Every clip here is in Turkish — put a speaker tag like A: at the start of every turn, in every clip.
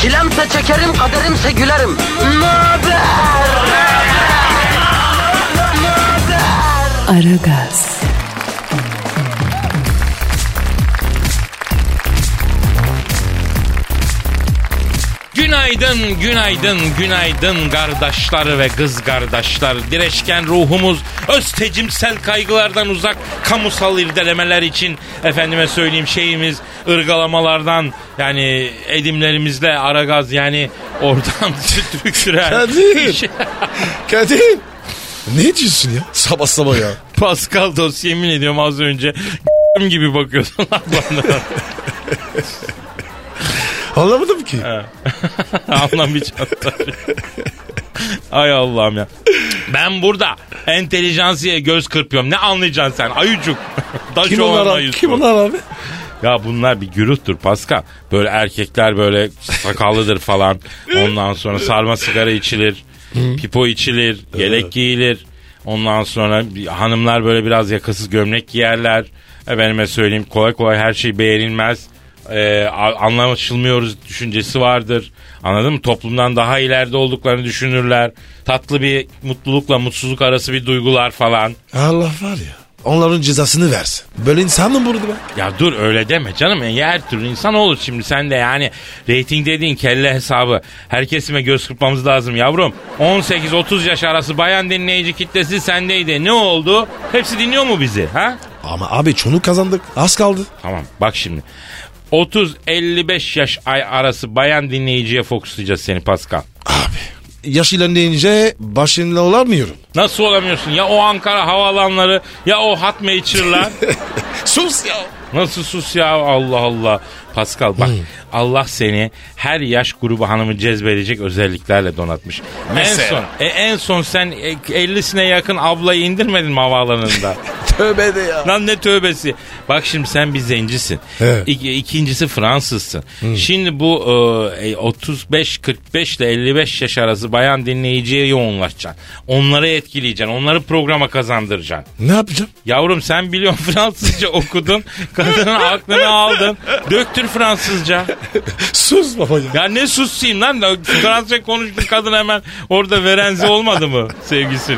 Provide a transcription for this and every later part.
A: Çilemse çekerim, kaderimse gülerim. Möber!
B: Aragaz,
C: Günaydın, günaydın, günaydın kardeşler ve kız kardeşler. Direşken ruhumuz öztecimsel kaygılardan uzak kamusal irdelemeler için efendime söyleyeyim şeyimiz ırgalamalardan yani edimlerimizle aragaz yani oradan tüküren.
D: Kadir. Kadir. Ne diyorsun ya? Sabah sabah ya.
C: Pascal dosya yemin ediyorum az önce gibi bakıyorsun lan bana.
D: Anlamadım ki.
C: Anlamayacaklar. Ay Allah'ım ya. Ben burada entelijansiye göz kırpıyorum. Ne anlayacaksın sen ayıcık? Daş
D: Kim
C: olan
D: onlar abi?
C: ayısı.
D: Kim onlar abi?
C: Ya bunlar bir gürültür Pascal. Böyle erkekler böyle sakallıdır falan. Ondan sonra sarma sigara içilir. pipo içilir. Yelek giyilir. Ondan sonra bir- hanımlar böyle biraz yakasız gömlek giyerler. Efendime söyleyeyim kolay kolay her şey beğenilmez. Ee, a- anlaşılmıyoruz düşüncesi vardır. Anladın mı? Toplumdan daha ileride olduklarını düşünürler. Tatlı bir mutlulukla mutsuzluk arası bir duygular falan.
D: Allah var ya. Onların cezasını versin. Böyle insan mı burada be?
C: Ya dur öyle deme canım. Ya her türlü insan olur şimdi sen de yani reyting dediğin kelle hesabı. Herkesime göz kırpmamız lazım yavrum. 18-30 yaş arası bayan dinleyici kitlesi sendeydi. Ne oldu? Hepsi dinliyor mu bizi? Ha?
D: Ama abi çonu kazandık. Az kaldı.
C: Tamam bak şimdi. 30-55 yaş ay arası bayan dinleyiciye fokuslayacağız seni Pascal.
D: Abi. Yaş ilerleyince başınla olamıyorum.
C: Nasıl olamıyorsun? Ya o Ankara havaalanları ya o hat Nature'lar.
D: Sus ya.
C: Nasıl sus ya Allah Allah. Pascal bak Allah seni her yaş grubu hanımı cezbedecek özelliklerle donatmış. En son,
D: Mesela?
C: e, en son sen e, 50'sine yakın ablayı indirmedin mi havaalanında?
D: Tövbe de ya.
C: Lan ne tövbesi. Bak şimdi sen bir zencisin.
D: Evet.
C: İki- ikincisi Fransızsın. Şimdi bu e, 35-45 ile 55 yaş arası bayan dinleyiciye yoğunlaşacaksın. Onları etkileyeceksin. Onları programa kazandıracaksın.
D: Ne yapacağım?
C: Yavrum sen biliyorsun Fransızca okudun. Kadının aklını aldın. Döktür Fransızca.
D: Sus baba ya.
C: Ya ne susayım lan? Fransızca konuştu kadın hemen orada verenzi olmadı mı sevgisini?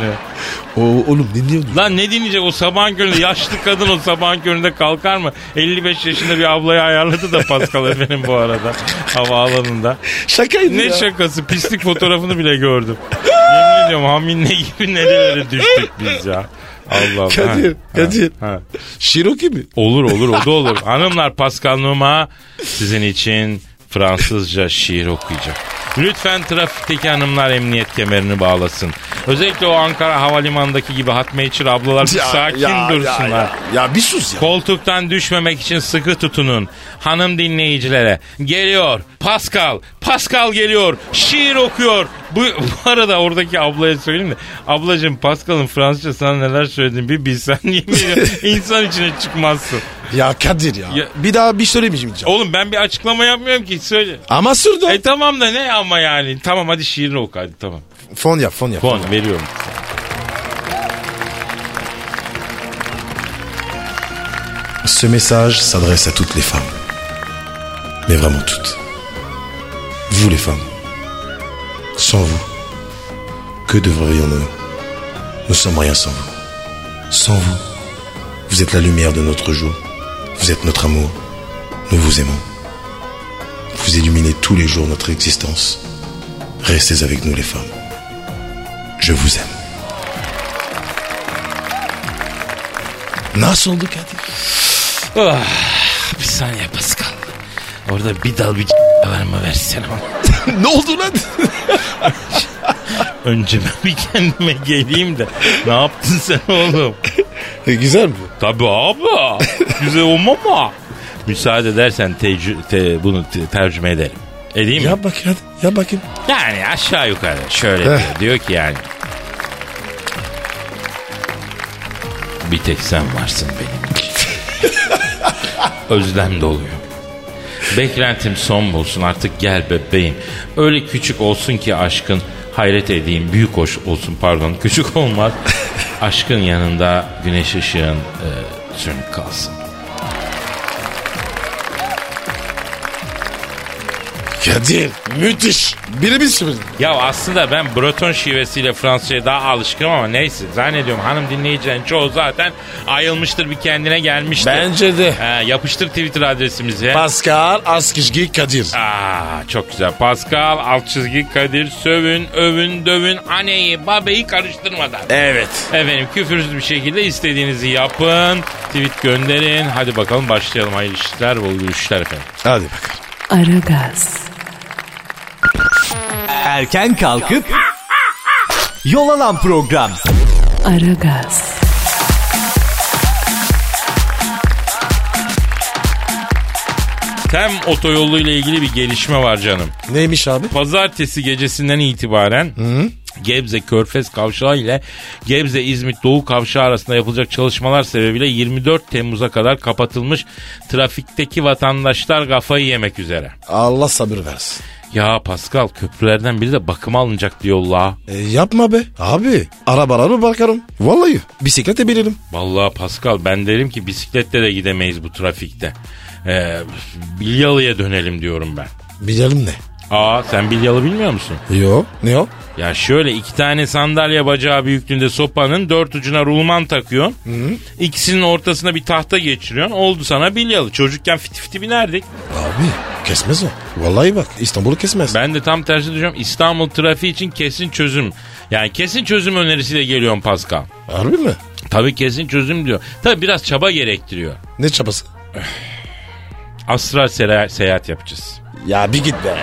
D: O, oğlum dinliyor musun?
C: Lan ne dinleyecek o sabahın köründe? Yaşlı kadın o sabahın köründe kalkar mı? 55 yaşında bir ablayı ayarladı da Pascal efendim bu arada havaalanında.
D: Şakaydı
C: Ne
D: ya.
C: şakası pislik fotoğrafını bile gördüm. Yemin ediyorum haminle gibi nerelere düştük biz ya. Allah Allah.
D: Kadir,
C: Ha,
D: Kadir.
C: ha, ha.
D: Şiroki mi?
C: Olur olur o da olur. Hanımlar Pascal Numa sizin için Fransızca şiir okuyacak. Lütfen trafikteki hanımlar emniyet kemerini bağlasın. Özellikle o Ankara havalimanındaki gibi hatmeyçir ablalar bir sakin dursunlar.
D: Ya, ya bir sus ya.
C: Koltuktan düşmemek için sıkı tutunun. Hanım dinleyicilere geliyor. Pascal, Pascal geliyor. Şiir okuyor. Bu, bu arada oradaki ablaya söyleyeyim de. Ablacığım Pascal'ın Fransızca sana neler söylediğini bir bilsen yemin ediyorum insan içine çıkmazsın.
D: Ya Kadir ya.
C: Ya-
D: Bir daha bir şey söylemeyeceğim.
C: Oğlum ben bir açıklama yapmıyorum ki söyle.
D: Ama sürdü.
C: E tamam da ne ama yani. Tamam hadi şiirini oku hadi tamam.
D: Fon yap fon yap.
C: Puan veriyorum.
D: Ce message s'adresse à toutes les femmes. Mais vraiment toutes. Vous les femmes. Sans vous, que devrions-nous Nous sommes rien sans vous. Sans vous, vous êtes la lumière de notre jour. Vous êtes notre amour. Nous vous aimons. Vous illuminez tous les jours notre existence. Restez avec nous les femmes. Je vous aime. Nasıl oldu Kadir?
C: Ah, bir saniye Pascal. Orada bir dal bir var mı versene bana.
D: ne oldu lan?
C: Önce ben bir kendime geleyim de. Ne yaptın sen oğlum?
D: güzel mi?
C: Tabii abla. Güzel olma ama. Müsaade edersen tecrü- te- bunu te- tercüme edelim. Edeyim mi?
D: Yap bakayım hadi. Yap bakayım.
C: Yani aşağı yukarı şöyle diyor.
D: Eh.
C: Diyor ki yani. Bir tek sen varsın benim için. Özlem doluyor. Beklentim son bulsun artık gel bebeğim. Öyle küçük olsun ki aşkın hayret edeyim. Büyük hoş olsun pardon küçük olmaz. aşkın yanında güneş ışığın e, sönük kalsın.
D: Kadir müthiş. Birebir şimdi.
C: Ya aslında ben Breton şivesiyle Fransızca'ya daha alışkınım ama neyse. Zannediyorum hanım dinleyicilerin çoğu zaten ayılmıştır bir kendine gelmiştir.
D: Bence de.
C: He, yapıştır Twitter adresimizi.
D: Pascal Askizgi Kadir.
C: Aa, çok güzel. Pascal, alt çizgi Kadir, sövün, övün, dövün, aneyi, babeyi karıştırmadan.
D: Evet.
C: Efendim küfürsüz bir şekilde istediğinizi yapın. Tweet gönderin. Hadi bakalım başlayalım. Hayırlı işler, bol görüşler efendim.
D: Hadi bakalım.
B: Aragaz,
E: Erken kalkıp yol alan program.
B: Aragaz,
C: Tem otoyolu ile ilgili bir gelişme var canım.
D: Neymiş abi?
C: Pazartesi gecesinden itibaren Gebze Körfez Kavşağı ile Gebze İzmit Doğu Kavşağı arasında yapılacak çalışmalar sebebiyle 24 Temmuz'a kadar kapatılmış trafikteki vatandaşlar kafayı yemek üzere.
D: Allah sabır versin.
C: Ya Pascal köprülerden biri de bakıma alınacak diyor la.
D: E, yapma be. Abi arabalara mı bakarım? Vallahi bisiklete binerim.
C: Vallahi Pascal ben derim ki bisikletle de gidemeyiz bu trafikte. Ee, Bilyalı'ya dönelim diyorum ben.
D: Binerim ne?
C: Aa sen Bilyalı bilmiyor musun?
D: Yo. Ne o?
C: Ya şöyle iki tane sandalye bacağı büyüklüğünde sopanın dört ucuna rulman takıyorsun. İkisinin ortasına bir tahta geçiriyorsun. Oldu sana bilyalı. Çocukken fiti fiti binerdik.
D: Abi kesmez o. Vallahi bak İstanbul'u kesmez.
C: Ben de tam tersi düşünüyorum. İstanbul trafiği için kesin çözüm. Yani kesin çözüm önerisiyle geliyorum Pascal.
D: Harbi mi?
C: Tabii kesin çözüm diyor. Tabii biraz çaba gerektiriyor.
D: Ne çabası?
C: Astral sera- seyahat yapacağız.
D: Ya bir git be.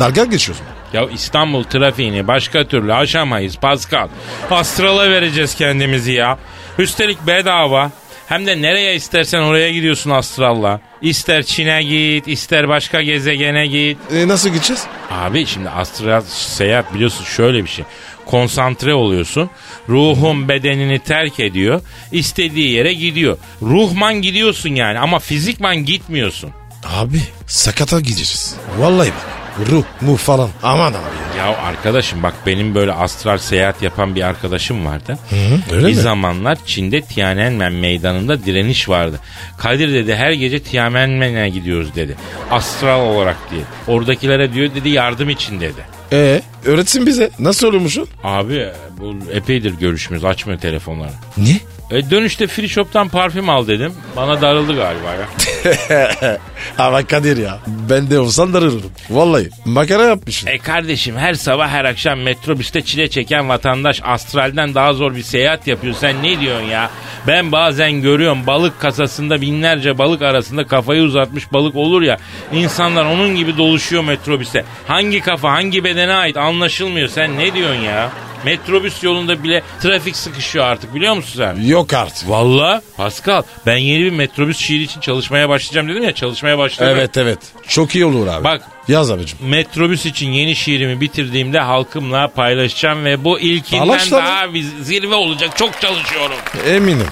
D: Dalga geçiyorsun.
C: Ya İstanbul trafiğini başka türlü aşamayız Pascal. Astrala vereceğiz kendimizi ya. Üstelik bedava. Hem de nereye istersen oraya gidiyorsun astralla. İster Çin'e git, ister başka gezegene git.
D: E, nasıl gideceğiz?
C: Abi şimdi astral seyahat biliyorsun şöyle bir şey. Konsantre oluyorsun. Ruhun bedenini terk ediyor. İstediği yere gidiyor. Ruhman gidiyorsun yani ama fizikman gitmiyorsun.
D: Abi sakata gideceğiz. Vallahi bak. Ruh, mu falan. Aman abi ya.
C: Ya arkadaşım bak benim böyle astral seyahat yapan bir arkadaşım vardı.
D: öyle mi?
C: bir zamanlar Çin'de Tiananmen meydanında direniş vardı. Kadir dedi her gece Tiananmen'e gidiyoruz dedi. Astral olarak diye. Oradakilere diyor dedi yardım için dedi.
D: E öğretsin bize. Nasıl oluyormuşsun?
C: Abi bu epeydir görüşmüyoruz açmıyor telefonları.
D: Ne?
C: E dönüşte free shop'tan parfüm al dedim. Bana darıldı galiba ya.
D: Ama Kadir ya. Ben de olsan darılırım. Vallahi makara yapmışsın.
C: E kardeşim her sabah her akşam metrobüste çile çeken vatandaş astralden daha zor bir seyahat yapıyor. Sen ne diyorsun ya? Ben bazen görüyorum balık kasasında binlerce balık arasında kafayı uzatmış balık olur ya. İnsanlar onun gibi doluşuyor metrobüste. Hangi kafa hangi bedene ait anlaşılmıyor. Sen ne diyorsun ya? Metrobüs yolunda bile trafik sıkışıyor artık biliyor musun sen?
D: Yok artık.
C: Valla Pascal ben yeni bir metrobüs şiiri için çalışmaya başlayacağım dedim ya çalışmaya başladım.
D: Evet evet. Çok iyi olur abi.
C: Bak.
D: Yaz abicim.
C: Metrobüs için yeni şiirimi bitirdiğimde halkımla paylaşacağım ve bu ilkinden
D: Paylaş lan.
C: daha bir zirve olacak. Çok çalışıyorum.
D: Eminim.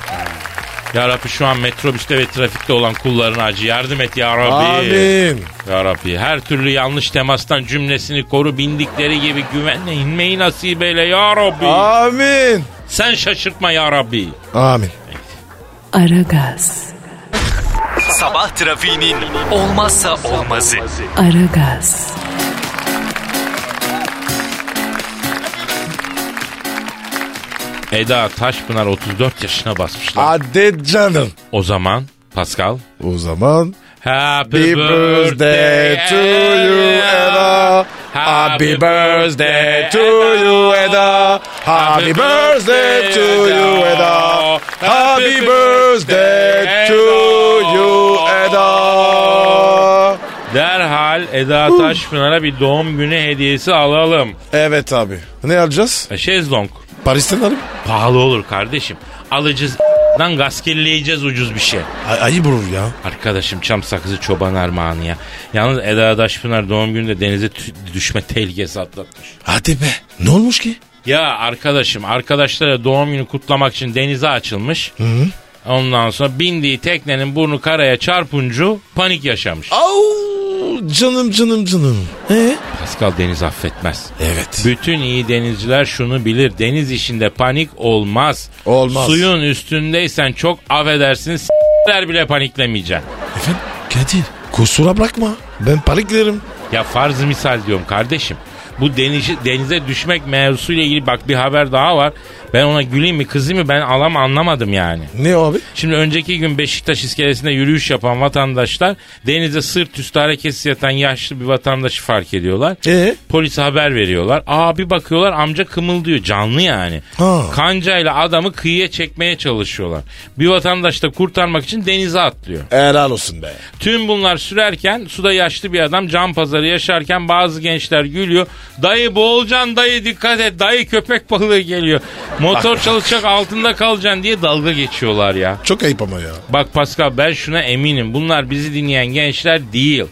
C: Ya Rabbi şu an metrobüste ve trafikte olan kullarına acı. Yardım et ya Rabbi.
D: Amin.
C: Ya Rabbi her türlü yanlış temastan cümlesini koru. Bindikleri gibi güvenle inmeyi nasip eyle ya Rabbi.
D: Amin.
C: Sen şaşırtma ya Rabbi.
D: Amin.
B: Aragaz,
E: Sabah trafiğinin olmazsa olmazı.
B: Aragaz,
C: Eda Taşpınar 34 yaşına basmışlar.
D: Hadi canım.
C: o zaman Pascal
D: O zaman
C: Happy
D: Happy birthday to you Eda. Happy birthday to you Eda. Happy birthday to you Eda. Happy birthday to you Eda.
C: Derhal Eda Taşpınar'a bir doğum günü hediyesi alalım.
D: Evet abi. Ne alacağız?
C: E, Şezlong.
D: Paris'ten alayım.
C: Pahalı olur kardeşim. Alacağız Lan gaskelleyeceğiz ucuz bir şey.
D: Ay- ayıp olur ya.
C: Arkadaşım çam sakızı çoban armağanı ya. Yalnız Eda Daşpınar doğum gününde denize tü- düşme tehlikesi atlatmış.
D: Hadi be. Ne olmuş ki?
C: Ya arkadaşım arkadaşlara doğum günü kutlamak için denize açılmış. Ondan sonra bindiği teknenin burnu karaya çarpuncu panik yaşamış.
D: Au canım canım canım. Ee?
C: Pascal deniz affetmez.
D: Evet.
C: Bütün iyi denizciler şunu bilir. Deniz işinde panik olmaz.
D: Olmaz.
C: Suyun üstündeysen çok affedersin. S**ler bile paniklemeyeceksin.
D: Efendim Kadir kusura bakma. Ben paniklerim.
C: Ya farz misal diyorum kardeşim. Bu deniz, denize düşmek mevzusuyla ilgili bak bir haber daha var. Ben ona güleyim mi kızayım mı ben alam anlamadım yani.
D: Ne o abi?
C: Şimdi önceki gün Beşiktaş iskelesinde yürüyüş yapan vatandaşlar denize sırt üstü hareketsiz yatan yaşlı bir vatandaşı fark ediyorlar.
D: Ee?
C: Polise haber veriyorlar. Aa bir bakıyorlar amca kımıldıyor canlı yani.
D: Ha.
C: Kancayla adamı kıyıya çekmeye çalışıyorlar. Bir vatandaş da kurtarmak için denize atlıyor.
D: Helal olsun be.
C: Tüm bunlar sürerken suda yaşlı bir adam can pazarı yaşarken bazı gençler gülüyor. Dayı boğulacaksın dayı dikkat et dayı köpek balığı geliyor. Motor çalışacak altında kalacaksın diye dalga geçiyorlar ya.
D: Çok ayıp ama ya.
C: Bak Pascal ben şuna eminim bunlar bizi dinleyen gençler değil.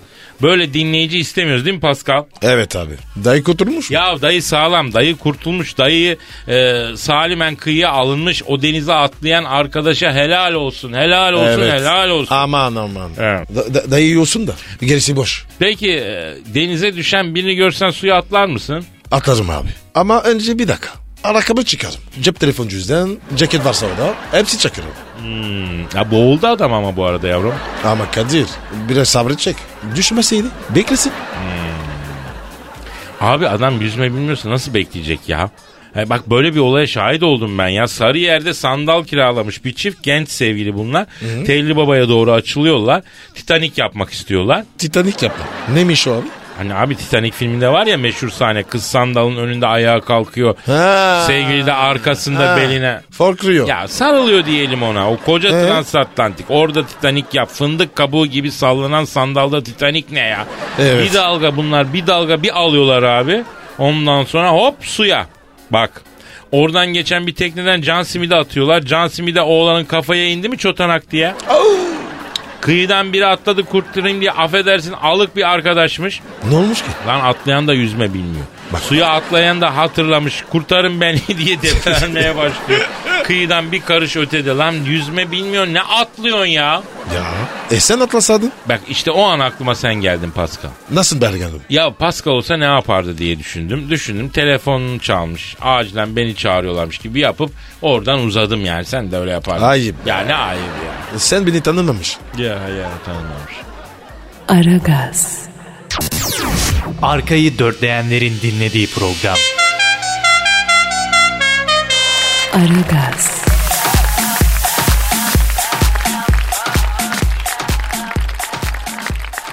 C: Böyle dinleyici istemiyoruz değil mi Pascal?
D: Evet abi. Dayı oturmuş mu?
C: Ya dayı sağlam, dayı kurtulmuş, dayı e, salimen kıyıya alınmış. O denize atlayan arkadaşa helal olsun, helal olsun,
D: Evet.
C: helal olsun.
D: Aman aman.
C: Evet.
D: Da- da- dayı yiyorsun da. Gerisi boş.
C: Peki e, denize düşen birini görsen suya atlar mısın?
D: Atlarım abi. Ama önce bir dakika. Ayakkabı çıkarım. Cep telefon cüzdan, ceket varsa orada. Hepsi çakırım.
C: Ya boğuldu adam ama bu arada yavrum.
D: Ama Kadir biraz sabredecek. Düşmeseydi beklesin.
C: Abi adam yüzme bilmiyorsa nasıl bekleyecek ya? E bak böyle bir olaya şahit oldum ben ya. Sarıyer'de sandal kiralamış bir çift genç sevgili bunlar. Telli Baba'ya doğru açılıyorlar. Titanik yapmak istiyorlar.
D: Titanik yapma. Neymiş o abi?
C: Hani abi Titanik filminde var ya meşhur sahne. Kız sandalın önünde ayağa kalkıyor.
D: Ha.
C: Sevgili de arkasında
D: Ha.
C: beline.
D: Folklore.
C: Ya sarılıyor diyelim ona. O koca transatlantik. Orada Titanik yap. Fındık kabuğu gibi sallanan sandalda Titanik ne ya?
D: Evet.
C: Bir dalga bunlar bir dalga bir alıyorlar abi. Ondan sonra hop suya. Bak. Oradan geçen bir tekneden Can Smith'i atıyorlar. Can Smith'e oğlanın kafaya indi mi çotanak diye. Kıyıdan biri atladı kurtturayım diye affedersin alık bir arkadaşmış.
D: Ne olmuş ki?
C: Lan atlayan da yüzme bilmiyor.
D: Bak.
C: Suya atlayan da hatırlamış. Kurtarın beni diye deprelenmeye başlıyor. Kıyıdan bir karış ötede. Lan yüzme bilmiyorsun ne atlıyorsun ya?
D: Ya. E sen atlasaydın.
C: Bak işte o an aklıma sen geldin Pascal.
D: Nasıl bergendim?
C: Ya Pascal olsa ne yapardı diye düşündüm. Düşündüm telefonunu çalmış. Acilen beni çağırıyorlarmış gibi yapıp oradan uzadım yani. Sen de öyle yapardın.
D: Ayıp.
C: Ya ne ayıp ya.
D: Sen beni tanımamış.
C: Ya ya tanımamış.
B: Aragaz,
E: Arkayı dörtleyenlerin dinlediği program.
B: Aragaz,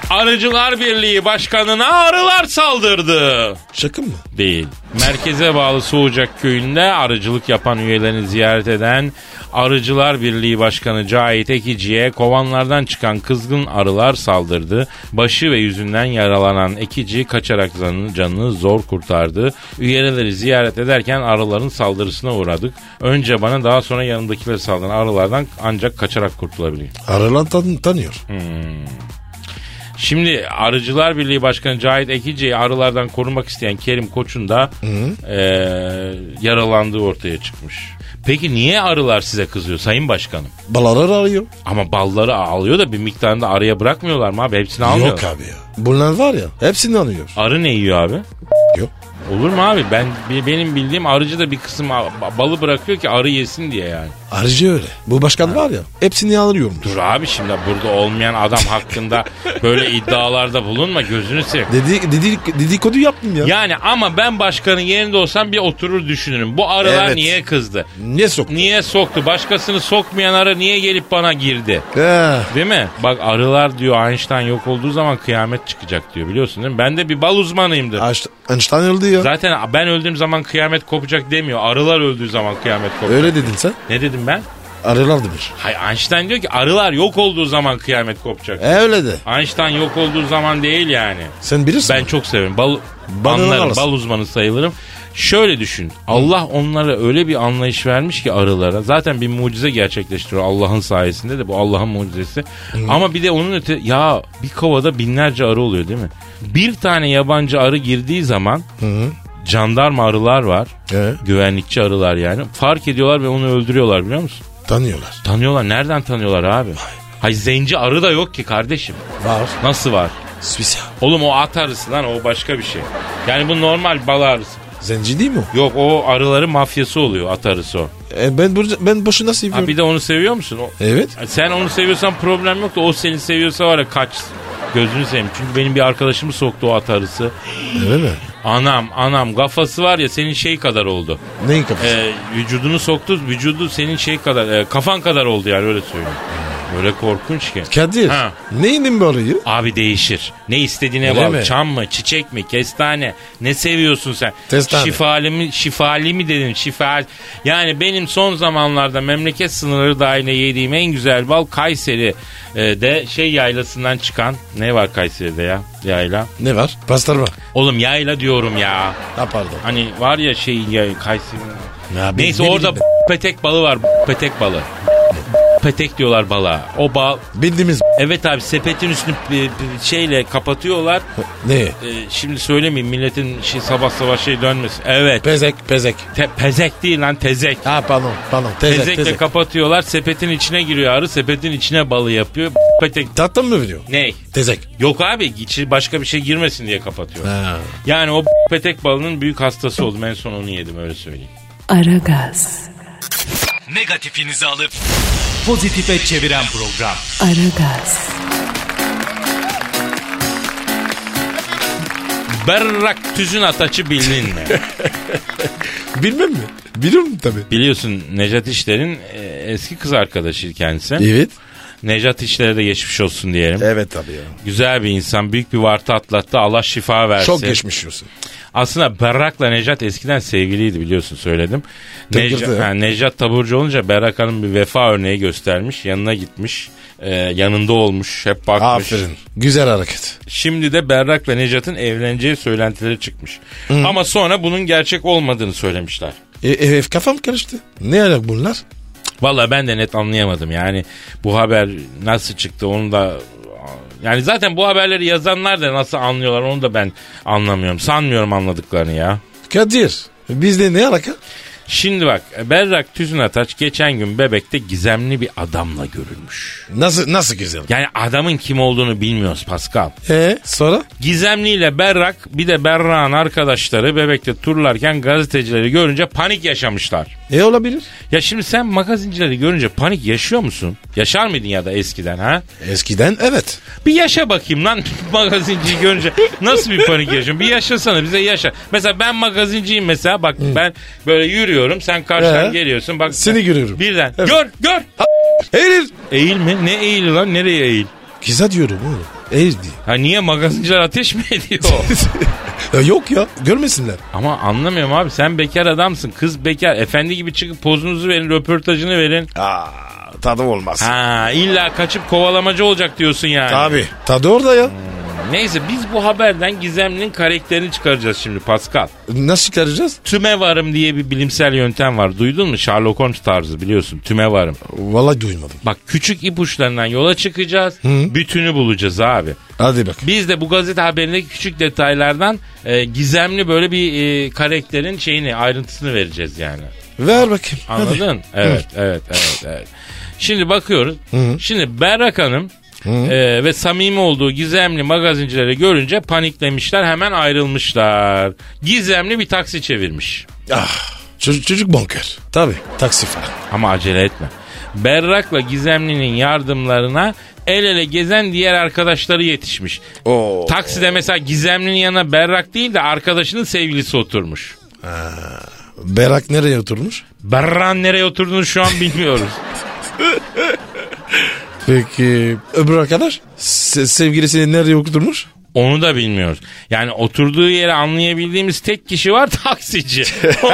C: Arıcılar Birliği Başkanı'na arılar saldırdı.
D: Şaka mı?
C: Değil. Merkeze bağlı Suucak köyünde arıcılık yapan üyelerini ziyaret eden Arıcılar Birliği Başkanı Cahit Ekici'ye kovanlardan çıkan kızgın arılar saldırdı. Başı ve yüzünden yaralanan Ekici kaçarak canını, canını zor kurtardı. Üyeleri ziyaret ederken arıların saldırısına uğradık. Önce bana daha sonra yanımdakileri saldıran arılardan ancak kaçarak kurtulabiliyor.
D: Aralan tan- tanıyor.
C: Şimdi Arıcılar Birliği Başkanı Cahit Ekici'yi arılardan korumak isteyen Kerim Koç'un da eee, yaralandığı ortaya çıkmış. Peki niye arılar size kızıyor Sayın Başkanım?
D: Balalar arıyor.
C: Ama balları alıyor da bir miktarını da arıya bırakmıyorlar mı abi? Hepsini almıyor.
D: Yok abi ya. Bunlar var ya hepsini anıyor.
C: Arı ne yiyor abi?
D: Yok.
C: Olur mu abi? Ben bi- benim bildiğim arıcı da bir kısım a- ba- balı bırakıyor ki arı yesin diye yani.
D: Arıcı öyle. Bu başkan var ya hepsini alıyormuş.
C: Dur abi şimdi burada olmayan adam hakkında böyle iddialarda bulunma gözünü seveyim.
D: Dedi, dedi, dedikodu yaptım ya.
C: Yani ama ben başkanın yerinde olsam bir oturur düşünürüm. Bu arılar
D: Evet.
C: niye kızdı?
D: Niye soktun?
C: Niye soktu? Başkasını sokmayan arı niye gelip bana girdi?
D: He.
C: Değil mi? Bak arılar diyor Einstein yok olduğu zaman kıyamet çıkacak diyor biliyorsun değil mi? Ben de bir bal uzmanıyımdır.
D: Einstein- Einstein öldü ya.
C: Zaten ben öldüğüm zaman kıyamet kopacak demiyor. Arılar öldüğü zaman kıyamet kopacak.
D: Öyle dedin sen.
C: Ne dedim ben?
D: Arılar demiş.
C: Hayır Einstein diyor ki arılar yok olduğu zaman kıyamet kopacak.
D: E öyle de.
C: Einstein yok olduğu zaman değil yani.
D: Sen bilirsin.
C: Ben çok severim. Bal,
D: Bal
C: anlarım.
D: alırsın.
C: Bal uzmanı sayılırım. Şöyle düşün. Allah onlara öyle bir anlayış vermiş ki arılara. Zaten bir mucize gerçekleştiriyor Allah'ın sayesinde de bu Allah'ın mucizesi. Ama bir de onun öte ya bir kovada binlerce arı oluyor değil mi? Bir tane yabancı arı girdiği zaman jandarma arılar var.
D: He.
C: Güvenlikçi arılar yani. Fark ediyorlar ve onu öldürüyorlar biliyor musun?
D: Tanıyorlar.
C: Tanıyorlar. Nereden tanıyorlar abi? Hay zenci arı da yok ki kardeşim.
D: Var.
C: Nasıl var?
D: Suisse.
C: Oğlum o at arısı lan o başka bir şey. Yani bu normal bal arısı.
D: Zenci değil mi o?
C: Yok o arıların mafyası oluyor at arısı o.
D: E, ben, burca- ben boşuna seviyorum.
C: Ha, bir de onu seviyor musun? O-
D: Evet.
C: Sen onu seviyorsan problem yok da o seni seviyorsa var ya kaç. Gözünü seveyim. Çünkü benim bir arkadaşımı soktu o at arısı.
D: Öyle mi?
C: Anam anam kafası var ya senin şey kadar oldu.
D: Neyin kafası?
C: Ee, vücudunu soktu vücudu senin şey kadar e, kafan kadar oldu yani öyle söyleyeyim. Öyle korkunç ki.
D: Kadir.
C: Ha.
D: Neyinin bari?
C: Abi değişir. Ne istediğine
D: Öyle
C: bağlı.
D: mi?
C: Çam mı, çiçek mi, kestane? Ne seviyorsun sen?
D: Kestane.
C: Şifali mi, şifali mi dedin? Şifa. Yani benim son zamanlarda memleket sınırı dahilinde yediğim en güzel bal Kayseri e, de şey yaylasından çıkan. Ne var Kayseri'de ya? Yayla.
D: Ne var? Pastırma.
C: Oğlum yayla diyorum ya.
D: Ha pardon.
C: Hani var ya şey ya, Kayseri'nin.
D: Ya ben-
C: Neyse
D: ne
C: orada
D: bileyim
C: petek balı var. Petek balı. Petek diyorlar bala. O bal.
D: ben. Bildiğimiz
C: Evet abi sepetin üstünü e, e, şeyle kapatıyorlar.
D: ne?
C: E, şimdi söylemeyeyim milletin şey, sabah sabah şey dönmesin. Evet.
D: Pezek, pezek.
C: Te- pezek değil lan tezek.
D: Ha pardon, pardon. Tezek,
C: Tezekle
D: tezek.
C: kapatıyorlar. Sepetin içine giriyor arı. Sepetin içine balı yapıyor. Petek.
D: Tattın mı video?
C: Ney?
D: Tezek.
C: Yok abi içi başka bir şey girmesin diye kapatıyor.
D: Ha.
C: Yani o petek balının büyük hastası oldum. En son onu yedim öyle söyleyeyim.
B: Aragaz,
E: Negatifinizi alıp pozitife çeviren program.
B: Aragaz,
C: Berrak tüzün ataçı bildin mi?
D: Bilmem mi? Biliyorum tabii.
C: Biliyorsun Necat İşler'in e, eski kız arkadaşı kendisi.
D: Evet.
C: Necat İşler'e de geçmiş olsun diyelim.
D: Evet tabii ya.
C: Güzel bir insan. Büyük bir vartı atlattı. Allah şifa versin.
D: Çok geçmiş olsun.
C: Aslında Berrak'la Necat eskiden sevgiliydi biliyorsun söyledim.
D: Tıngırdı.
C: Necat, ha, Necat taburcu olunca Berrak Hanım bir vefa örneği göstermiş. Yanına gitmiş. e, yanında olmuş. Hep bakmış.
D: Aferin. Güzel hareket.
C: Şimdi de Berrak ve Necat'ın evleneceği söylentileri çıkmış. Ama sonra bunun gerçek olmadığını söylemişler.
D: E, e, kafam karıştı. Ne alak bunlar?
C: Valla ben de net anlayamadım yani bu haber nasıl çıktı onu da yani zaten bu haberleri yazanlar da nasıl anlıyorlar onu da ben anlamıyorum. Sanmıyorum anladıklarını ya.
D: Kadir. Bizde ne alaka?
C: Şimdi bak Berrak Tüzün Ataç geçen gün bebekte gizemli bir adamla görülmüş.
D: Nasıl nasıl güzel?
C: Yani adamın kim olduğunu bilmiyoruz Pascal.
D: E sonra?
C: Gizemli ile Berrak bir de Berrak'ın arkadaşları bebekte turlarken gazetecileri görünce panik yaşamışlar.
D: E olabilir.
C: Ya şimdi sen magazincileri görünce panik yaşıyor musun? Yaşar mıydın ya da eskiden ha?
D: Eskiden evet.
C: Bir yaşa bakayım lan magazinciyi görünce nasıl bir panik yaşıyorsun? Bir yaşasana bize yaşa. Mesela ben magazinciyim mesela bak ben böyle yürüyorum sen karşıdan
D: Ee?
C: geliyorsun bak.
D: Seni görüyorum.
C: Birden
D: Evet.
C: gör gör.
D: Eğilir.
C: Eğil mi? Ne eğili lan nereye eğil?
D: Kıza diyorum oğlum. Eğil diye.
C: Ha niye magazinciler ateş mi ediyor?
D: Ya E, yok ya. Görmesinler.
C: Ama anlamıyorum abi sen bekar adamsın kız bekar efendi gibi çıkıp pozunuzu verin röportajını verin.
D: Ah. Aa, tadı olmaz.
C: Ha illa kaçıp kovalamacı olacak diyorsun yani.
D: Tabii. Tadı orada ya.
C: Neyse biz bu haberden Gizemli'nin karakterini çıkaracağız şimdi Pascal.
D: Nasıl çıkaracağız?
C: Tümevarım diye bir bilimsel yöntem var. Duydun mu? Sherlock Holmes tarzı biliyorsun. Tümevarım.
D: Vallahi duymadım.
C: Bak küçük ipuçlarından yola çıkacağız. Bütünü bulacağız abi.
D: Hadi bak.
C: Biz de bu gazete haberindeki küçük detaylardan e, gizemli böyle bir e, karakterin şeyini ayrıntısını vereceğiz yani.
D: Ver bakayım. Hadi.
C: Anladın? Evet, evet, evet, evet. Şimdi bakıyoruz. Şimdi Berrak Hanım e, ve samimi olduğu gizemli magazincileri görünce paniklemişler, hemen ayrılmışlar. Gizemli bir taksi çevirmiş.
D: Ah, çocuk, çocuk banker. Tabii. Taksi falan.
C: Ama acele etme. Berrak'la Gizemli'nin yardımlarına el ele gezen diğer arkadaşları yetişmiş.
D: Oo.
C: Takside mesela Gizemli'nin yanına Berrak değil de arkadaşının sevgilisi oturmuş.
D: Berak nereye oturmuş?
C: Berrak'ın nereye oturduğunu şu an bilmiyoruz.
D: Peki öbür arkadaş se- sevgilisini nereye oturmuş?
C: Onu da bilmiyoruz. Yani oturduğu yeri anlayabildiğimiz tek kişi var taksici. O,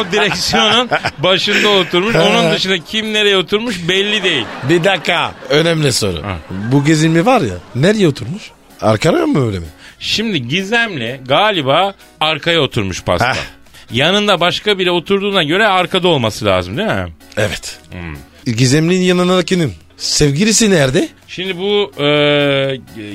C: o direksiyonun başında oturmuş. Onun dışında kim nereye oturmuş belli değil.
D: Bir dakika. Önemli soru. Bu gezinme var ya nereye oturmuş? Arkaya mı öyle mi?
C: Şimdi Gizemli galiba arkaya oturmuş pasta.
D: Heh.
C: Yanında başka biri oturduğuna göre arkada olması lazım değil mi?
D: Evet. Gizemli'nin yanına kinim. Sevgilisi nerede?
C: Şimdi bu e,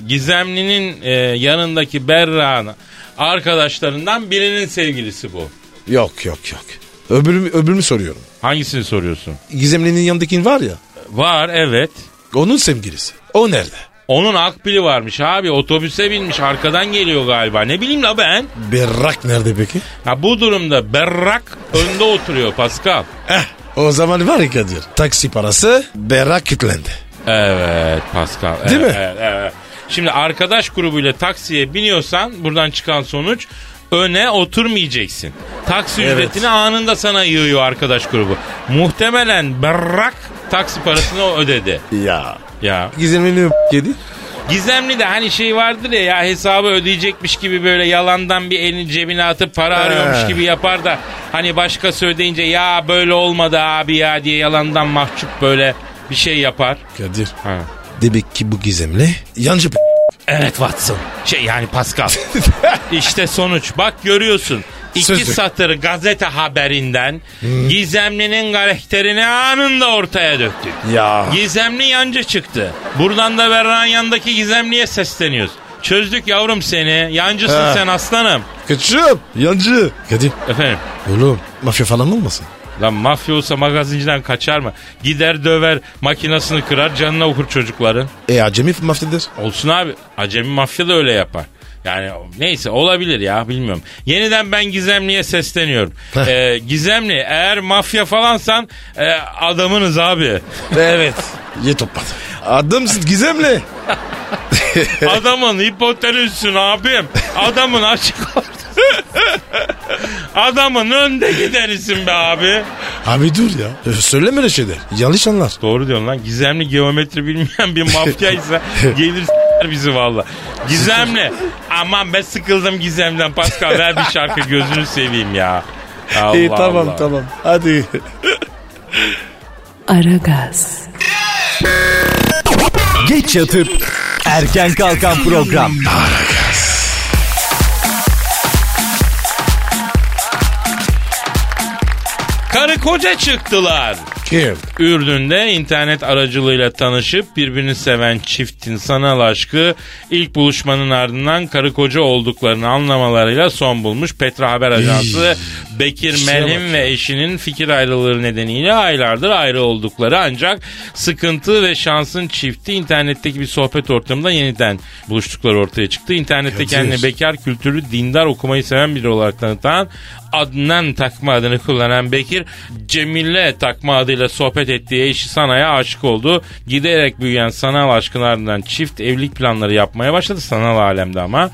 C: Gizemli'nin e, yanındaki Berra'nın arkadaşlarından birinin sevgilisi bu.
D: Yok yok yok. Öbürü, öbürünü soruyorum.
C: Hangisini soruyorsun?
D: Gizemli'nin yanındakin var ya.
C: Var evet.
D: Onun sevgilisi. O nerede?
C: Onun akbili varmış abi otobüse binmiş arkadan geliyor galiba ne bileyim la ben.
D: Berrak nerede peki?
C: Ha, bu durumda berrak önde oturuyor Pascal.
D: Eh, o zaman var ya Kadir. Taksi parası Berrak kitlendi.
C: Evet Pascal.
D: Değil
C: evet,
D: mi?
C: Evet, evet. Şimdi arkadaş grubuyla taksiye biniyorsan buradan çıkan sonuç öne oturmayacaksın. Taksi ücretini anında sana yığıyor arkadaş grubu. Muhtemelen berrak taksi parasını o ödedi.
D: Ya.
C: Ya
D: Gizemli'nin yedi.
C: Gizemli de hani şey vardır ya ya hesabı ödeyecekmiş gibi böyle yalandan bir elini cebine atıp para arıyormuş gibi yapar da hani başkası ödeyince ya böyle olmadı abi ya diye yalandan mahcup böyle bir şey yapar.
D: Kadir.
C: Ha.
D: Demek ki bu gizemli yancı p-
C: Evet Watson. Şey yani Pascal. işte sonuç. Bak görüyorsun. İki
D: Sözlük.
C: satır gazete haberinden Gizemli'nin karakterini anında ortaya döktük.
D: Ya.
C: Gizemli yancı çıktı. Buradan da Berra'nın yanındaki Gizemli'ye sesleniyoruz. Çözdük yavrum seni. Yancısın
D: Ha.
C: sen aslanım.
D: Kaçım. Yancı. Kadir.
C: Efendim.
D: Oğlum mafya falan olmasın?
C: Lan mafya olsa magazinciden kaçar mı? Gider döver, makinasını kırar, canına okur çocukların.
D: E acemi mafyadır.
C: Olsun abi. Acemi mafya da öyle yapar. Yani neyse olabilir ya bilmiyorum. Yeniden ben Gizemli'ye sesleniyorum.
D: Heh.
C: Ee, Gizemli eğer mafya falansan e, adamınız abi.
D: Evet. Ye topladı. Adamsın gizemli.
C: Adamın hipotenüsün abim. Adamın açık ortası. Adamın önde giderisin be abi.
D: Abi dur ya. Ö, Söyleme öyle şeyler. Yanlış anlar.
C: Doğru diyorsun lan. Gizemli geometri bilmeyen bir mafyaysa gelir s**ler bizi valla. Gizemli. Aman ben sıkıldım Gizem'den Pascal ver bir şarkı gözünü seveyim ya. Allah Allah.
D: E, tamam. Hadi.
B: Aragaz,
E: Geç yatıp erken kalkan program.
C: Karı koca çıktılar.
D: Kim?
C: Ürdün'de internet aracılığıyla tanışıp birbirini seven çiftin sanal aşkı ilk buluşmanın ardından karı koca olduklarını anlamalarıyla son bulmuş. Petra Haber Ajansı Bekir
D: İşine
C: Melhim
D: bak
C: ve eşinin fikir ayrılığı nedeniyle aylardır ayrı oldukları ancak sıkıntı ve şansın çifti internetteki bir sohbet ortamında yeniden buluştukları ortaya çıktı. İnternette
D: Kadir.
C: kendini bekar kültürlü dindar okumayı seven biri olarak tanıtan Adnan takma adını kullanan Bekir Cemile takma adıyla sohbet ettiği eşi Sana'ya aşık oldu. Giderek büyüyen sanal aşkın ardından çift evlilik planları yapmaya başladı sanal alemde ama.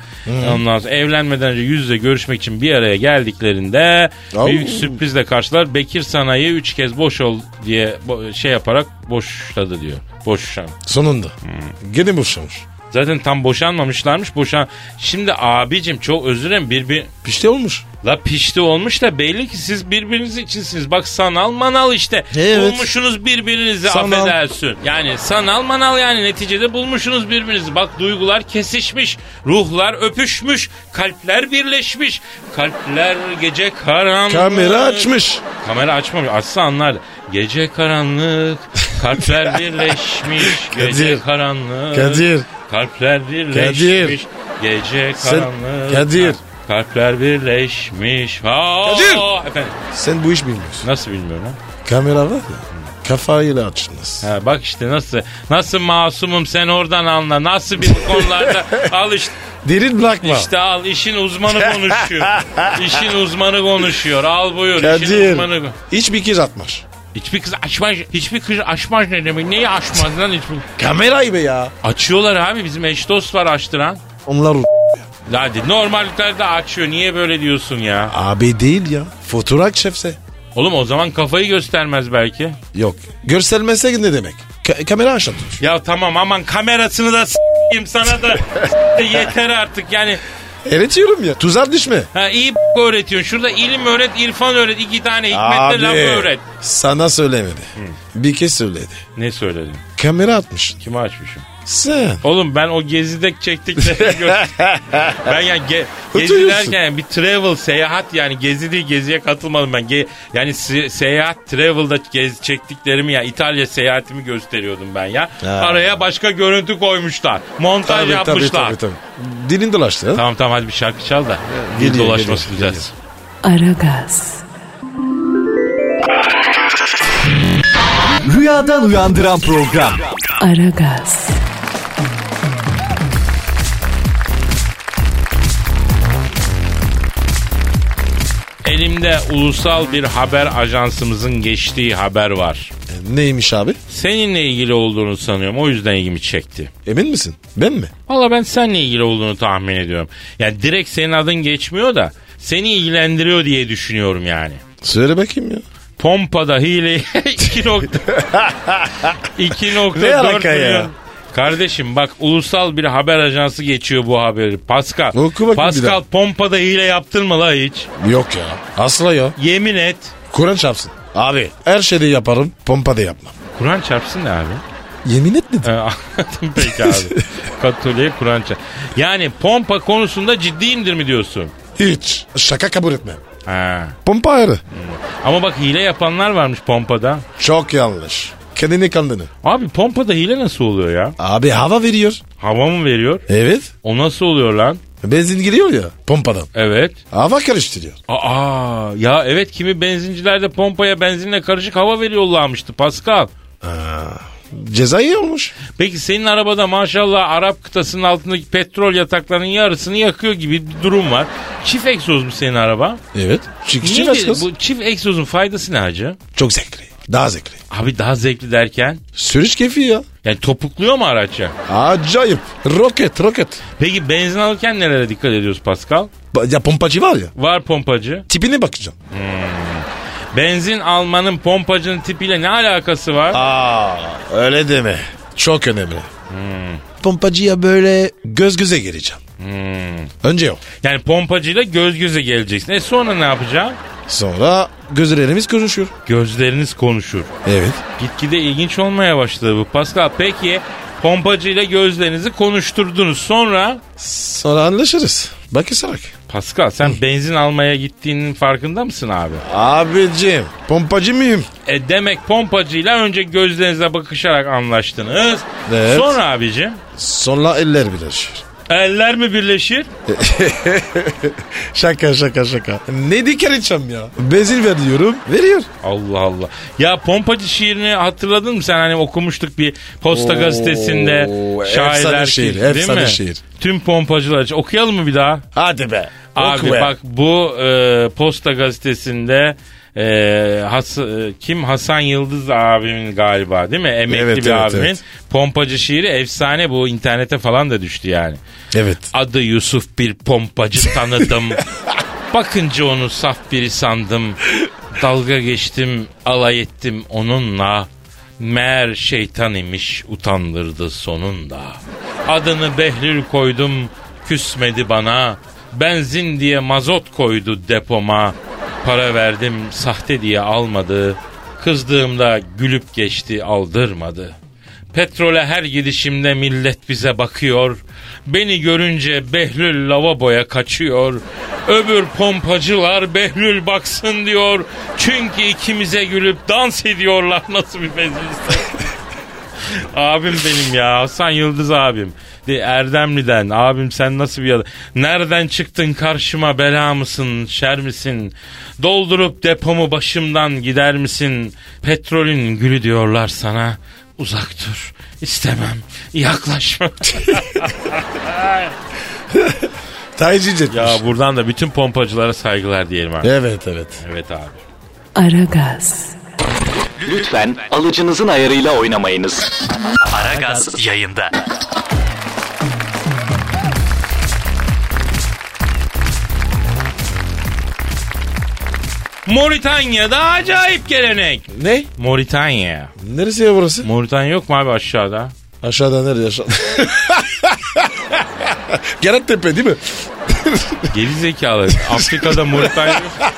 C: Ondan sonra evlenmeden önce yüz yüze görüşmek için bir araya geldiklerinde
D: Au.
C: büyük sürprizle karşılar. Bekir Sana'yı üç kez boş ol diye bo- şey yaparak boşladı diyor. Boşan.
D: Sonunda.
C: Hmm.
D: Gene boşamış.
C: Zaten tam boşanmamışlarmış. Boşan. Şimdi abicim çok özür dilerim. Birbir,
D: Pişti olmuş.
C: La pişti olmuş da belli ki siz birbiriniz içinsiniz. Bak sanal manal işte.
D: Evet.
C: Bulmuşsunuz birbirinizi
D: Sanal.
C: affedersin. Yani sanal manal yani neticede bulmuşsunuz birbirinizi. Bak duygular kesişmiş. Ruhlar öpüşmüş. Kalpler birleşmiş. Kalpler gece karanlık.
D: Kamera açmış.
C: Kamera açmamış. Açsa anlardı. Gece karanlık. Kalpler birleşmiş. Gece
D: Kadir.
C: karanlık.
D: Kadir.
C: Kalpler birleşmiş.
D: Kadir.
C: Gece
D: Sen-
C: karanlık.
D: Kadir.
C: Kalpler birleşmiş. Ha,
D: Kadir!
C: Efendim.
D: Sen bu iş bilmiyorsun.
C: Nasıl bilmiyorum lan?
D: Kamera var ya. Kafayla açınız.
C: Ha, bak işte nasıl nasıl masumum sen oradan anla. Nasıl bir bu konularda al işte,
D: Derin bırakma.
C: işte al işin uzmanı konuşuyor. İşin uzmanı konuşuyor. Al buyur işin
D: Kadir.
C: uzmanı. kon-
D: Hiçbir kez atmış.
C: Hiçbir kız açmaz, hiçbir kız açmaz ne demek? Neyi açmaz lan hiçbir?
D: Kamerayı be ya.
C: Açıyorlar abi bizim eş dost var açtıran.
D: Onlar o-
C: Hadi normalliklerde açıyor. Niye böyle diyorsun ya?
D: abi değil ya. Fotoğraf şefse.
C: Oğlum o zaman kafayı göstermez belki.
D: Yok. Görselmese ne demek? Ka- kamera aşağı tutmuş.
C: Ya tamam aman kamerasını da s**eyim sana da s**eyim, yeter artık yani.
D: Öğretiyorum ya. Tuzar düşme.
C: Ha, iyi b- öğretiyorsun. Şurada ilim öğret, irfan öğret. iki tane hikmetle laf öğret.
D: Sana söylemedi. Bir kez söyledi.
C: Ne söyledin?
D: Kamera atmış.
C: Kime açmışım?
D: Sen.
C: Oğlum ben o gezide çektikleri gör- ben yani ge- gezi
D: Oturuyorsun.
C: derken yani bir travel seyahat yani gezi değil geziye katılmadım ben. Ge- yani se- seyahat travel'da gez çektiklerimi ya İtalya seyahatimi gösteriyordum ben ya. Araya başka görüntü koymuşlar. Montaj yapmışlar.
D: tabii. Dilin dolaştı. ha?
C: Tamam tamam hadi bir şarkı çal da dil
D: Geliyor,
C: dolaşması
D: geliyor,
C: düzelsin.
B: Aragaz,
E: Rüyadan uyandıran program.
B: Aragaz,
C: Elimde ulusal bir haber ajansımızın geçtiği haber var.
D: E, Neymiş abi?
C: Seninle ilgili olduğunu sanıyorum o yüzden ilgimi çekti.
D: Emin misin? Ben mi?
C: Valla ben seninle ilgili olduğunu tahmin ediyorum. Yani direkt senin adın geçmiyor da seni ilgilendiriyor diye düşünüyorum yani.
D: Söyle bakayım ya.
C: Pompada hile 2 nokta 2.4
D: Ne alaka ya?
C: milyon. Kardeşim bak ulusal bir haber ajansı geçiyor bu haberi. Pascal.
D: Oku bakayım bir daha.
C: Pascal pompada hile yaptın mı la hiç?
D: Yok ya. Asla ya.
C: Yemin et.
D: Kur'an çarpsın. Abi. Her şeyde yaparım. Pompa da yapmam.
C: Kur'an çarpsın ne abi?
D: Yemin et dedim.
C: Ee, Anladım peki abi. Katoliğe Kur'an çarp. Yani pompa konusunda ciddiyimdir mi diyorsun?
D: Hiç. Şaka kabul etmem.
C: Ha.
D: Pompa ayrı.
C: Ama bak hile yapanlar varmış pompada.
D: Çok yanlış. Kendini kandını.
C: Abi pompada hile nasıl oluyor ya?
D: Abi hava veriyor.
C: Hava mı veriyor?
D: Evet.
C: O nasıl oluyor lan?
D: Benzin giriyor ya pompadan.
C: Evet.
D: Hava karıştırıyor.
C: Aa ya evet kimi benzincilerde pompaya benzinle karışık hava veriyorlarmıştı Pascal.
D: Cezayı olmuş.
C: Peki senin arabada maşallah Arap kıtasının altındaki petrol yataklarının yarısını yakıyor gibi bir durum var. Çift egzoz mu senin araba?
D: Evet. Çıkışçı
C: Niye
D: başkası.
C: bu çift egzozun faydası ne hacı?
D: Çok zevkli. Daha zevkli.
C: Abi daha zevkli derken
D: Sürüş keyfi ya.
C: yani topukluyor mu araç ya?
D: Acayip. Roket roket.
C: Peki benzin alırken nelere dikkat ediyoruz Pascal?
D: Ba- Ya pompacı var ya.
C: Var pompacı.
D: Tipine bakacağım.
C: Benzin almanın pompacının tipiyle ne alakası var?
D: Aa öyle deme. Hmm. Çok önemli. Pompacıya böyle göz göze geleceğim. Hmm. Önce o.
C: Yani pompacıyla göz göze geleceksin. E sonra ne yapacaksın?
D: Sonra gözlerimiz konuşuyor.
C: Gözleriniz konuşur.
D: Evet.
C: Gitgide ilginç olmaya başladı bu Pascal. Peki pompacıyla gözlerinizi konuşturdunuz. Sonra
D: Sonra anlaşırız. Bakışarak.
C: Pascal sen benzin almaya gittiğinin farkında mısın abi?
D: Abicim pompacı mıyım?
C: E demek pompacıyla önce gözlerinize bakışarak anlaştınız.
D: Evet.
C: Sonra abicim
D: Sonra eller birleşir.
C: eller mi birleşir?
D: Şaka şaka şaka. Ne diker içeceğim ya? Benzin ver diyorum. Veriyor.
C: Allah Allah. Ya pompacı şiirini hatırladın mı sen hani okumuştuk bir posta gazetesinde şairler
D: efsane şiir,
C: değil
D: efsane
C: mi?
D: şiir.
C: Tüm pompacılar için. Okuyalım mı bir daha?
D: Hadi be.
C: Abi
D: Oku be.
C: bak bu e, posta gazetesinde e, Has- e, kim Hasan Yıldız abimin galiba değil mi? Emekli
D: Evet,
C: bir
D: evet,
C: abimin
D: evet.
C: pompacı şiiri efsane bu internete falan da düştü yani.
D: Evet.
C: Adı Yusuf bir pompacı tanıdım. Bakınca onu saf biri sandım. Dalga geçtim, alay ettim onunla. Meğer şeytan imiş utandırdı sonunda. Adını Behlül koydum, küsmedi bana. Benzin diye mazot koydu depoma. Para verdim, sahte diye almadı. Kızdığımda gülüp geçti, aldırmadı. Petrole her gidişimde millet bize bakıyor. Beni görünce Behlül lavaboya kaçıyor. Öbür pompacılar Behlül baksın diyor. Çünkü ikimize gülüp dans ediyorlar. Nasıl bir meclis? abim benim ya Hasan Yıldız abim. De Erdemli'den abim sen nasıl bir adam. Nereden çıktın karşıma bela mısın şer misin? Doldurup depomu başımdan gider misin? Petrolün gülü diyorlar sana. Uzak dur istemem yaklaşma.
D: Taycı cetmiş.
C: ya buradan da bütün pompacılara saygılar diyelim abi.
D: Evet evet.
C: Evet abi.
B: Aragaz,
F: Lütfen alıcınızın ayarıyla oynamayınız. Aragaz yayında.
C: Moritanya'da acayip gelenek.
D: Ne?
C: Moritanya.
D: Neresi ya burası?
C: Moritanya yok mu abi aşağıda?
D: Aşağıda nerede aşağı? Gerektepe değil mi?
C: Geri zekalı. Afrika'da Moritanya yok.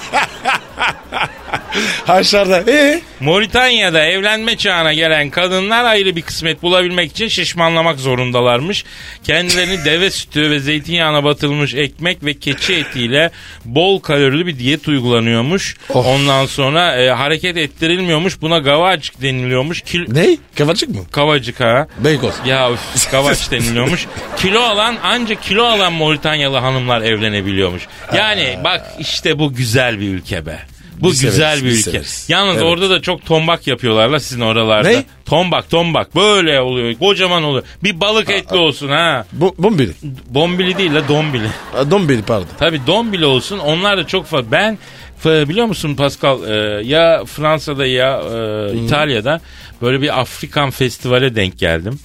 D: Haşlarda. Ee?
C: Moritanya'da evlenme çağına gelen kadınlar ayrı bir kısmet bulabilmek için şişmanlamak zorundalarmış. Kendilerini deve sütü ve zeytinyağına batılmış ekmek ve keçi etiyle bol kalorili bir diyet uygulanıyormuş.
D: Of.
C: Ondan sonra e, hareket ettirilmiyormuş. Buna gavacık deniliyormuş. Kil-
D: Ne? Kavacık mı?
C: Kavacık ha.
D: Beykoz.
C: Ya üf, kavaç deniliyormuş. kilo alan anca kilo alan Moritanyalı hanımlar evlenebiliyormuş. Yani bak işte bu güzel bir ülke be. Bu
D: Biz
C: güzel
D: severiz,
C: bir
D: biz
C: ülke.
D: severiz.
C: Yalnız
D: Evet.
C: orada da çok tombak yapıyorlarla sizin oralarda.
D: Ne?
C: Tombak tombak böyle oluyor. Kocaman oluyor. Bir balık etli olsun ha.
D: Bu, bombili.
C: Bombili değil la dombili.
D: Aa, Dombili pardon.
C: Tabi don bile olsun onlar da çok fazla. Ben f- biliyor musun Pascal e, ya Fransa'da ya e, İtalya'da böyle bir Afrikan festivale denk geldim.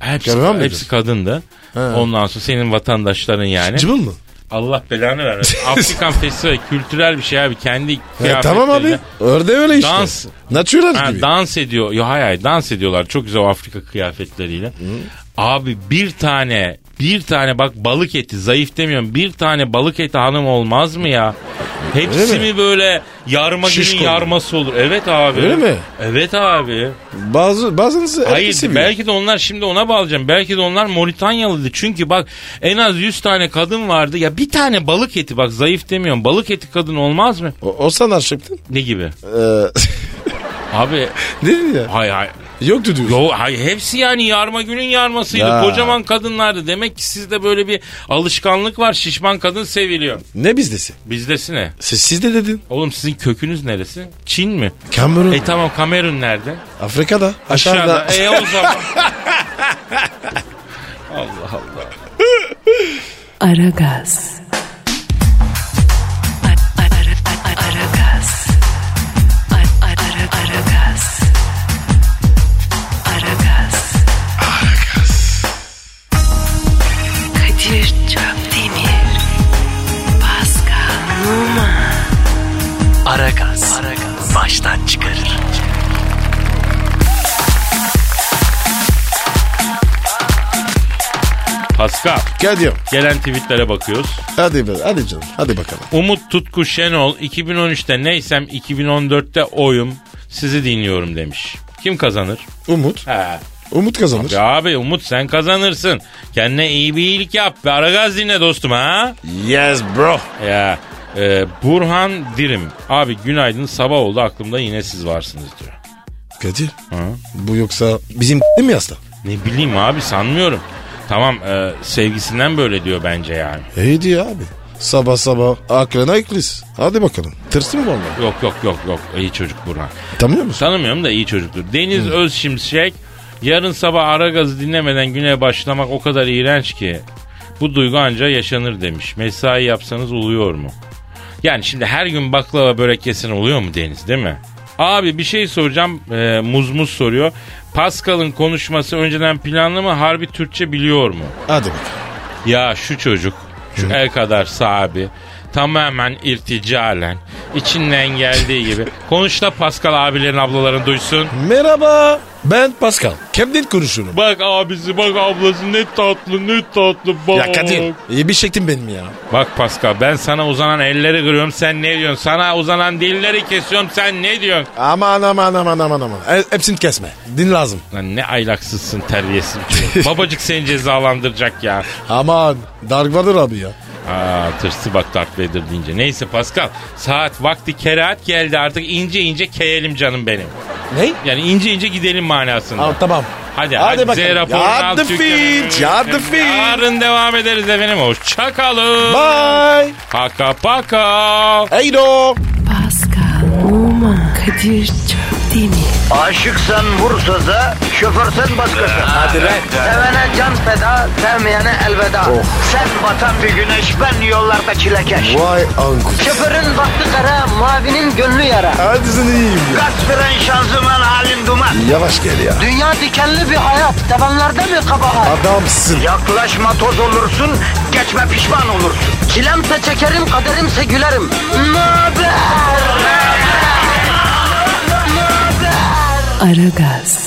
C: Hepsi,
D: Görmüyor muydun?
C: hepsi kadındı. Ondan sonra senin vatandaşların yani.
D: Cıbıl mı?
C: Allah belanı vermesin. Afrikan festivali kültürel bir şey abi. Kendi
D: Ya, E, tamam abi.
C: kıyafetleriyle-
D: Örde öyle işte.
C: Dans.
D: Natural
C: Ha,
D: gibi.
C: dans ediyor. Yo hayır hayır dans ediyorlar. Çok güzel o Afrika kıyafetleriyle. Abi bir tane bir tane bak balık eti zayıf demiyorum. Bir tane balık eti hanım olmaz mı ya? Hepsi
D: Öyle mi?
C: mi böyle yarma
D: Şişko
C: günün
D: mu?
C: yarması olur? Evet abi.
D: Öyle mi?
C: Evet abi.
D: Bazı, bazınız erkek
C: Hayır
D: seviyor.
C: belki de onlar şimdi ona bağlayacağım. Belki de onlar Moritanyalıydı. Çünkü bak en az 100 tane kadın vardı. Ya bir tane balık eti bak zayıf demiyorum. Balık eti kadın olmaz mı?
D: O, o sana çıktın.
C: Ne gibi?
D: Ee,
C: Abi
D: ne dedi ya?
C: hay hay.
D: Yoktu diyorsun.
C: Yo hayır hepsi yani yarma günün yarmasıydı.
D: Ya.
C: Kocaman kadınlardı. Demek ki sizde böyle bir alışkanlık var. Şişman kadın seviliyor.
D: Ne bizdesi?
C: Bizdesi ne?
D: Siz, siz de dedin.
C: Oğlum sizin kökünüz neresi? Çin mi?
D: Kamerun.
C: E tamam Kamerun nerede?
D: Afrika'da. Aşağıda.
C: E o zaman.
B: Aragaz. Aragaz. Aragaz. Aragaz. Kadir Çöptemir. Pascal Numa.
F: Aragaz. Baştan çıkarır.
C: Pascal
D: Kadir.
C: gelen tweetlere bakıyoruz.
D: Hadi, be- hadi canım. Hadi bakalım.
C: Umut Tutku Şenol 2013'te neysem 2014'te oyum sizi dinliyorum demiş. Kim kazanır?
D: Umut.
C: He.
D: Umut kazanır.
C: Ya abi Umut sen kazanırsın. Kendine iyi bir iyilik yap ve Aragaz dinle dostum ha.
D: Yes bro.
C: Ya e, Burhan Dirim. Abi günaydın sabah oldu aklımda yine siz varsınız diyor.
D: Kadir. Bu yoksa bizim değil mi hasta?
C: Ne bileyim abi sanmıyorum. Tamam e, sevgisinden böyle diyor bence yani.
D: İyi diyor abi. Sabah sabah aklına iklis. Hadi bakalım. Tırsı mı vallahi?
C: Yok yok yok yok iyi çocuk Burhan.
D: Tanıyor musun?
C: Tanımıyorum da iyi çocuktur. Deniz Özşimşek yarın sabah Aragaz'ı dinlemeden güne başlamak o kadar iğrenç ki. Bu duygu anca yaşanır demiş. Mesai yapsanız oluyor mu? Yani şimdi her gün baklava börek yesen oluyor mu Deniz değil mi? Abi bir şey soracağım. Ee, muzmuz soruyor. Pascal'ın konuşması önceden planlı mı? Harbi Türkçe biliyor mu?
D: Hadi bakalım.
C: Ya şu çocuk şu el kadar sahibi tamamen irticalen içinden geldiği gibi konuş da Pascal abilerin ablaların duysun.
D: Merhaba. Ben Pascal. Kemden konuşuyorum.
C: Bak abisi bak ablası ne tatlı ne tatlı bak.
D: Ya Kadir. İyi bir çektin benim ya.
C: Bak Pascal ben sana uzanan elleri kırıyorum sen ne diyorsun? Sana uzanan dilleri kesiyorum sen ne diyorsun?
D: Aman aman aman aman aman. E, hepsini kesme. Din lazım.
C: Lan ne aylaksızsın terbiyesiz bir çocuk. Babacık seni cezalandıracak ya.
D: Aman. Dark vardır abi ya.
C: Aa tırsı bak Darth Vader deyince. Neyse Pascal saat vakti kerahat geldi artık ince ince keyelim canım benim.
D: Ne?
C: Yani ince ince gidelim manasında.
D: Aa, tamam.
C: Hadi
D: Hadi
C: hadi,
D: bakalım.
C: Z raporunu
D: Yard
C: al
D: the
C: Türkiye'den.
D: feet, yard the feet.
C: Yarın devam ederiz efendim. Hoşçakalın.
D: Bye.
C: Paka paka.
D: Hey dog.
B: Pascal Numa. Kadir Çöptemir.
A: Aşıksan vursa da, şoförsen başkasın. Hadi Sevene can feda, sevmeyene elveda. Sen batan bir güneş, ben yollarda çilekeş.
D: Vay anku.
A: Şoförün baktı kara, mavinin gönlü yara.
D: Hadi sen iyiyim ya.
A: Kasperen şanzıman halin duman.
D: Yavaş gel ya.
A: Dünya dikenli bir hayat, sevenlerde mi kabahar?
D: Adamsın.
A: Yaklaşma toz olursun, geçme pişman olursun. Çilemse çekerim, kaderimse gülerim. Möber!
B: Aragaz.